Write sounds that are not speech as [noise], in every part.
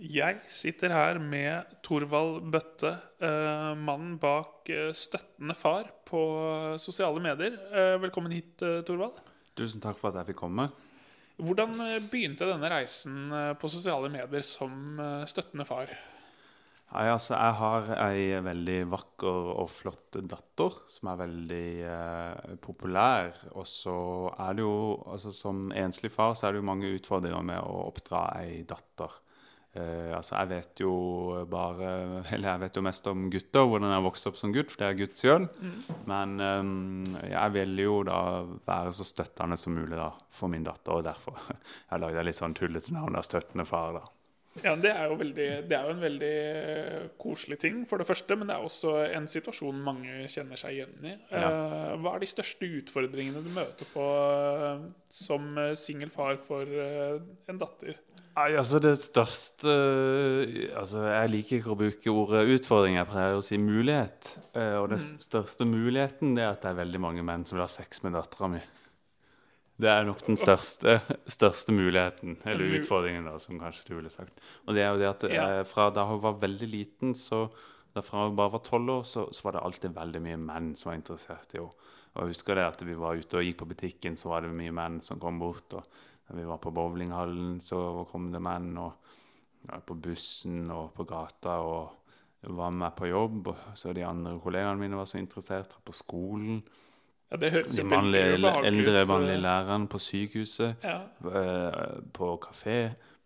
Jeg sitter her med Torvald Bøtte, eh, mannen bak eh, Støttende far på eh, sosiale medier. Eh, velkommen hit, eh, Torvald. Tusen takk for at jeg fikk komme. Hvordan eh, begynte denne reisen eh, på sosiale medier som eh, støttende far? Nei, altså, jeg har ei veldig vakker og flott datter som er veldig eh, populær. Og så er det jo, altså som enslig far, så er det jo mange utfordringer med å oppdra ei datter. Eh, altså, jeg vet jo bare [laughs] Eller jeg vet jo mest om gutter, hvordan jeg vokste opp som gutt, for jeg er gutt sjøl. Men eh, jeg vil jo da være så støttende som mulig da, for min datter, og derfor [laughs] jeg har lagd et litt sånn tullete navn, da, støttende far. da. Ja, det er, jo veldig, det er jo en veldig eh, koselig ting, for det første. Men det er også en situasjon mange kjenner seg igjen i. Eh, Hva er de største utfordringene du møter på eh, som eh, singel far for eh, en datter? Nei, altså det største Altså Jeg liker ikke å bruke ordet utfordring, jeg pleier å si mulighet. Eh, Og den største muligheten det er at det er veldig mange menn som vil ha sex med dattera mi. Det er nok den største, [laughs] største muligheten, eller Mu- utfordringen, da, som kanskje du ville sagt. Og det er jo det at Ja. eh, fra da hun var veldig liten, så da fra hun bare var tolv år, så, så var det alltid veldig mye menn som var interessert i henne. Og jeg husker det at vi var ute og gikk på butikken, så var det mye menn som kom bort. Og når vi var på bowlinghallen, så kom det menn. Og ja, på bussen og på gata. Og var med på jobb. og Så de andre kollegaene mine var så interessert. og På skolen. Ja, det høres De jo mannlige, veldig ubehagelig eldre ut. eh. mannlige lærerne på sykehuset. Ja. eh, På kafé.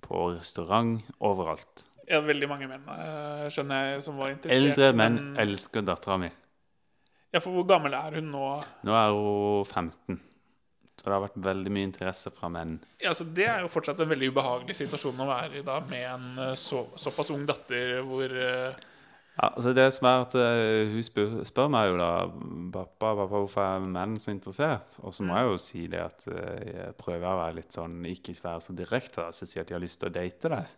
På restaurant. Overalt. ja, veldig mange menn, eh, skjønner jeg, som var interessert. Eldre menn elsker dattera mi. Ja, for hvor gammel er hun nå? Nå er hun 15. Så det har vært veldig mye interesse fra menn. Ja, så Det er jo fortsatt en veldig ubehagelig situasjon å være i da, med en eh, så, såpass ung datter hvor eh, Ja, altså det som er at eh, Hun spør, spør meg jo da pappa, pappa, hvorfor er menn så interessert. Og så må jeg jo si det at eh, jeg prøver å være litt sånn, ikke være så direkte. da, Så sier jeg at de har lyst til å date deg.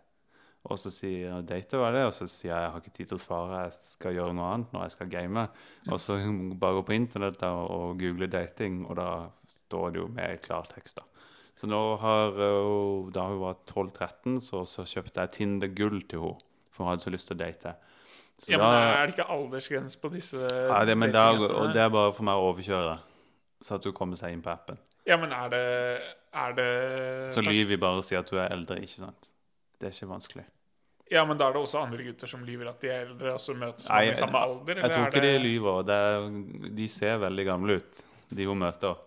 Og så sier jeg date hva er det, og så sier jeg jeg har ikke tid til å svare, jeg skal gjøre noe annet når jeg skal game. Og så bare gå på internett da, og google dating, og da står det jo med klartekst. da. Så nå har hun, da hun var 12-13, så, så kjøpte jeg Tinder gull til henne. For hun hadde så lyst til å date. Så ja, men da- Er det ikke aldersgrense på disse ja, det, men da, og datingappene? det er bare for meg å overkjøre. Så at du kommer seg inn på appen. Ja, men er det, er det Så lyver vi bare og sier at du er eldre, ikke sant? Det er ikke vanskelig. Ja, men da er det også andre gutter som lyver at de er eldre, og så møtes Nei, man i samme alder? Jeg eller tror er ikke de det- lyver. Det er, de ser veldig gamle ut, de hun møter.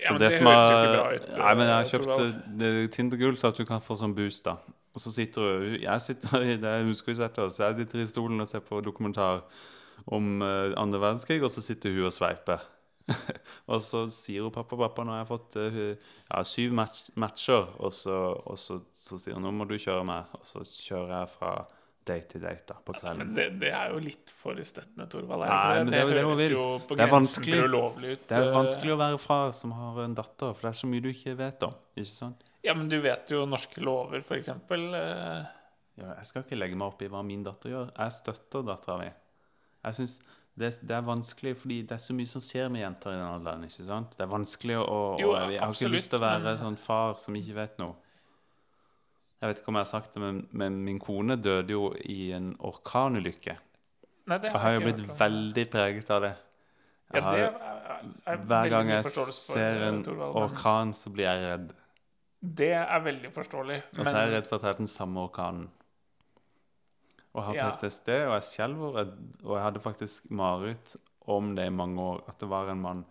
Ja, Og men det, som høres jo er- ikke bra ut. Nei, men jeg har eh, Torvald. kjøpt eh, det- Tinder-gull, så at du kan få sånn boost, da. Og så sitter hun Jeg sitter i det husker vi setter oss. Jeg sitter i stolen og ser på dokumentar om eh, andre verdenskrig, og så sitter hun og sveiper. [laughs] og så sier hun pappa, pappa, nå har jeg fått eh, ja, syv match matcher, og, så, og så, så sier hun nå må du kjøre meg. Og så kjører jeg fra date til date da, på kvelden. Men det, det er jo litt for støttende, Torvald. Nei, Er men det, det er jo ikke det? det hun det høres vil. jo på Det er grensen vanskelig. til ulovlig ut. eh, Det er vanskelig å være far som har en datter, for det er så mye du ikke vet om. ikke sant? Ja, men du vet jo norske lover, for eksempel. eh, Ja, jeg skal ikke legge meg opp i hva min datter gjør. Jeg støtter dattera mi. Jeg synes det, det er vanskelig, fordi det er så mye som skjer med jenter i den alderen. ikke sant? Det er vanskelig å, å Jo, Jeg har ikke lyst absolutt, til å være men- sånn far som ikke vet noe. Jeg vet ikke om jeg har sagt det, men, men min kone døde jo i en orkanulykke. Nei, det Jeg har jo ikke blitt hørt om. veldig preget av det. Ja, Jeg det har, er, er, er hver veldig gang mye jeg forståelse for, ser eh, en Torvald, men orkan, så blir jeg redd. Det er veldig forståelig. Og så er jeg redd for at det er den samme orkanen. Og har Ja. PTSD, og jeg skjelver. og- Og jeg hadde faktisk mareritt om det i mange år. At det var en mann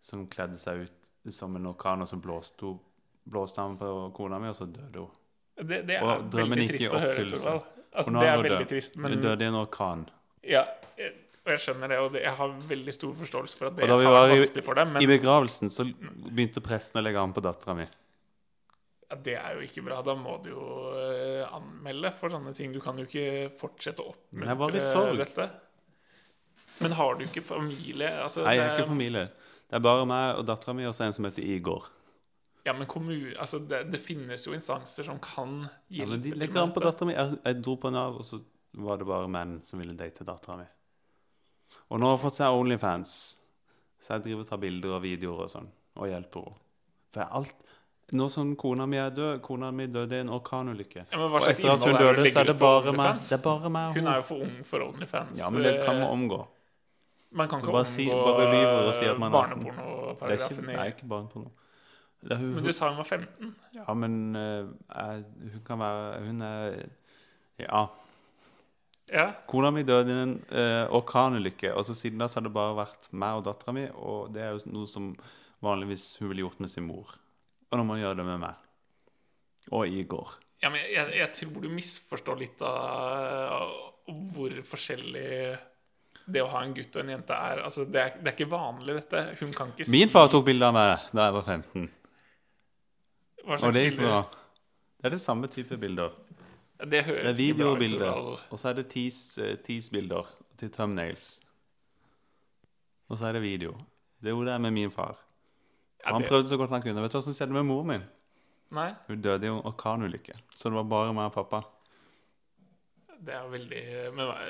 som kledde seg ut som en orkan, og så blåste, hun- blåste han på kona mi, og så døde hun. det, det er og drømmen veldig gikk i trist å høre, oppfyllelse. Torvald. Og Altså, nå det er er hun veldig død. trist, Hun men døde i en orkan. ja, eh, og jeg skjønner det, og det, jeg har veldig stor forståelse for at det Og da vi har var vært i- vanskelig for dem, I men begravelsen så begynte presten å legge an på dattera mi. ja, det er jo ikke bra. Da må du jo eh, anmelde for sånne ting. Du kan jo ikke fortsette å Men jeg var i oppmuntre sorg. dette. Men har du ikke familie? Altså, Nei, jeg det- er ikke familie. Det er bare meg og dattera mi og så en som heter Igor. Ja, men kommu- altså det, det finnes jo instanser som kan Ja, hjelpe men de til legger med an på dette. dattera mi. Jeg, jeg dro på Nav, og så var det bare menn som ville date dattera mi. Og nå har hun fått seg Onlyfans, så jeg driver og tar bilder og videoer og sånn, og hjelper henne. For jeg, alt, Nå som kona mi er død Kona mi døde i en orkanulykke. Ja, men hva Og slags etter at hun innhold er det du døde, så legger er det ut på bare meg. OnlyFans? Det er bare meg og Hun er jo hun. for ung for OnlyFans. Ja, men det kan man eh, omgå. man kan du ikke omgå bare eh, si- bare lyver og si at man er 18. Det er ikke, barnepornoparagrafen det er ikke barneporno. Det er i hun, Men du sa hun var 15. ja, men eh, er, hun kan være Hun er Ja. Ja. Kona mi døde i en eh, orkanulykke, og så siden da så har det bare vært meg og dattera mi, og det er jo noe som vanligvis hun ville gjort med sin mor. Og nå må hun gjøre det med meg. Og Igor. ja, men jeg, jeg tror du misforstår litt av av hvor forskjellig det å ha en gutt og en jente er. Altså, det er, det er ikke vanlig, dette. Hun kan ikke Min si far tok bilde av meg da jeg var 15, hva og slags det gikk bilder- bra. Det er det samme type bilder. Det høres Det er ikke bra ut, videobilder, Torvald. og så er det eh, tease-bilder til thumbnails. Og så er det video. Det er jo det er med min far. Og Ja, han det- prøvde så godt han kunne. Vet du hva som skjedde med moren min? Nei, Hun døde i en orkanulykke, så det var bare meg og pappa. det er veldig men, hva-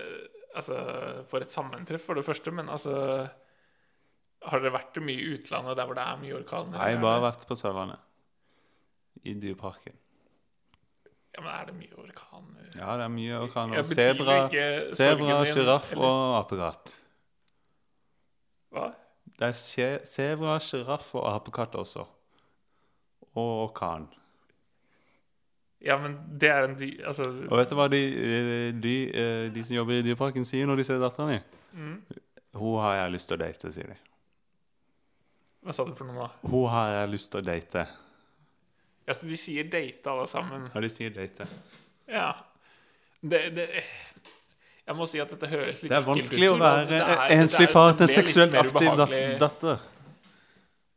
Altså, for et sammentreff, for det første, men altså Har dere vært mye i utlandet der hvor det er mye orkaner? Nei, eller? bare vært på Sørlandet. I Dyreparken. Ja, men er det mye orkaner? Ja, det er mye orkaner. Jeg Og betviler Sebra, ikke sebra, sorgen din, sjiraff eller- og apekatt. Hva? Det er skje- sebra, sjiraff og apekatt også. Og orkan. Ja, men det er en dy... Altså, Og vet du hva de, eh, de, eh, de som jobber i Dyreparken sier når de ser dattera mi? Mm. Hun har jeg lyst til å date, sier de. hva sa du for noe nå? Hun har jeg lyst til å date. Ja, så de sier 'date', alle sammen. Ja, de sier date. Ja. Det, det Jeg må si at dette høres litt Det er ekkelt ut, vanskelig å Torvald. være Det er- eh, dette enslig er- far til en det er litt seksuelt mer aktiv dat ubehagelig. datter.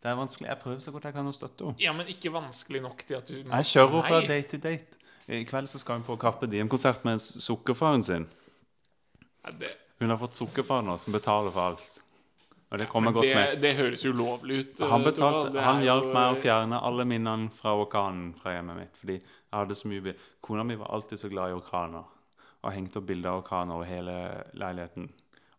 Det er vanskelig. Jeg prøver så godt jeg kan å støtte henne. Ja, men ikke vanskelig nok til at du må Jeg si kjører fra nei. date til date. I kveld så skal hun på Carpe Diem-konsert med s- sukkerfaren sin. Ja, det, Hun har fått sukkerfar nå, som betaler for alt. Og det kommer men jeg godt det, med. det høres ulovlig ut. Han, eh, Torvald. betalte, Det han er hjalp jo- eh, meg å fjerne alle minnene fra orkanen fra hjemmet mitt. Fordi jeg hadde så mye bi- Kona mi var alltid så glad i orkaner. Og hengte opp bilder av orkaner over hele leiligheten.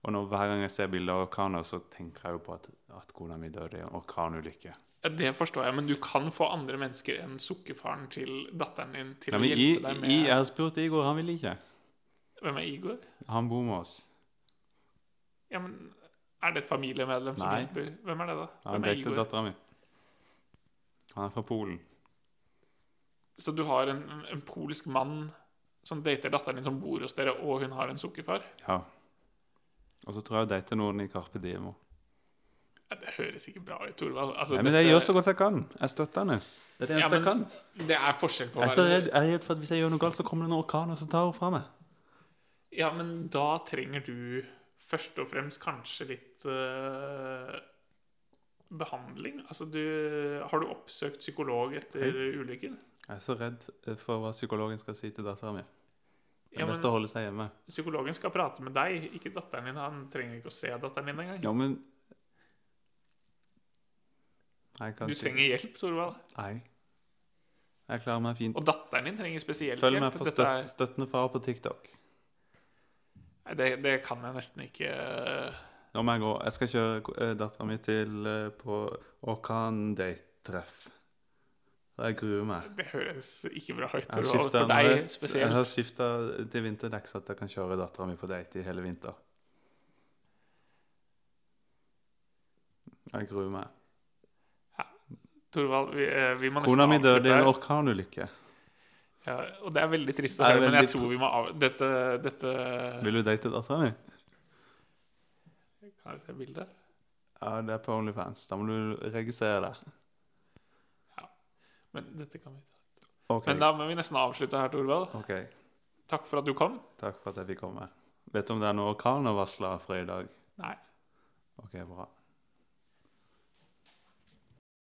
Og nå, hver gang jeg ser bilder av orkaner, så tenker jeg jo på at, at kona mi døde i en orkanulykke. Ja, Det forstår jeg, men du kan få andre mennesker enn sukkerfaren til datteren din til Nei, å men i, hjelpe deg med i, jeg har spurt Igor, han vil ikke. Hvem er Igor? Han bor med oss. Ja, men Er det et familiemedlem som Nei. hjelper? Hvem er det, da? Han Hvem er datet Igor? dattera mi. Han er fra Polen. Så du har en, en polsk mann som dater datteren din, som bor hos dere, og hun har en sukkerfar? Ja. Og så tror jeg jeg dater noen i Carpe Diem. også. Ja, det høres ikke bra ut, Torvald. Altså, Nei, men jeg dette- gjør så godt jeg kan. Jeg støtter henne. Det er det Ja, eneste jeg kan. men det er forskjell på å Jeg er så være- redd, jeg er redd for at hvis jeg gjør noe galt, så kommer det en orkan og så tar hun fra meg. Ja, men da trenger du først og fremst kanskje litt eh, behandling. Altså, du Har du oppsøkt psykolog etter ulykken? Jeg er så redd eh, for hva psykologen skal si til dattera mi. Det Ja, er best å men holde seg hjemme. psykologen skal prate med deg, ikke datteren din. Han trenger ikke å se datteren din engang. Ja, men Nei, Du kanskje trenger hjelp, Torvald. Nei. Jeg klarer meg fint. Og datteren din trenger spesielt Følg meg hjelp. på Dette støt, er, støttende far på TikTok. Nei, det, det kan jeg nesten ikke eh, Nå må jeg gå. Jeg skal kjøre dattera mi til eh, på orkandate-treff. Jeg gruer meg. Det høres ikke bra ut, Jeg har Torvald. skiftet- For deg Jeg spesielt. har skifta til vinterdekk, så at jeg kan kjøre dattera mi på date i hele vinter. Jeg gruer meg. Torvald, vi, eh, vi må nesten Kona mi avslutte døde i her. en orkanulykke. Ja, og det er veldig trist å Det er høre, men jeg veldig- tror vi må av... Dette, dette Vil du date dattera mi? Kan jeg se bildet? Ja, det er på OnlyFans. Da må du registrere deg. Men dette kan vi ta. OK. Men da må vi nesten avslutte her, Torvald. Ok. Takk for at du kom. Takk for at jeg fikk komme. Vet du om det er noen orkaner varsla fra i dag? Nei. OK, bra.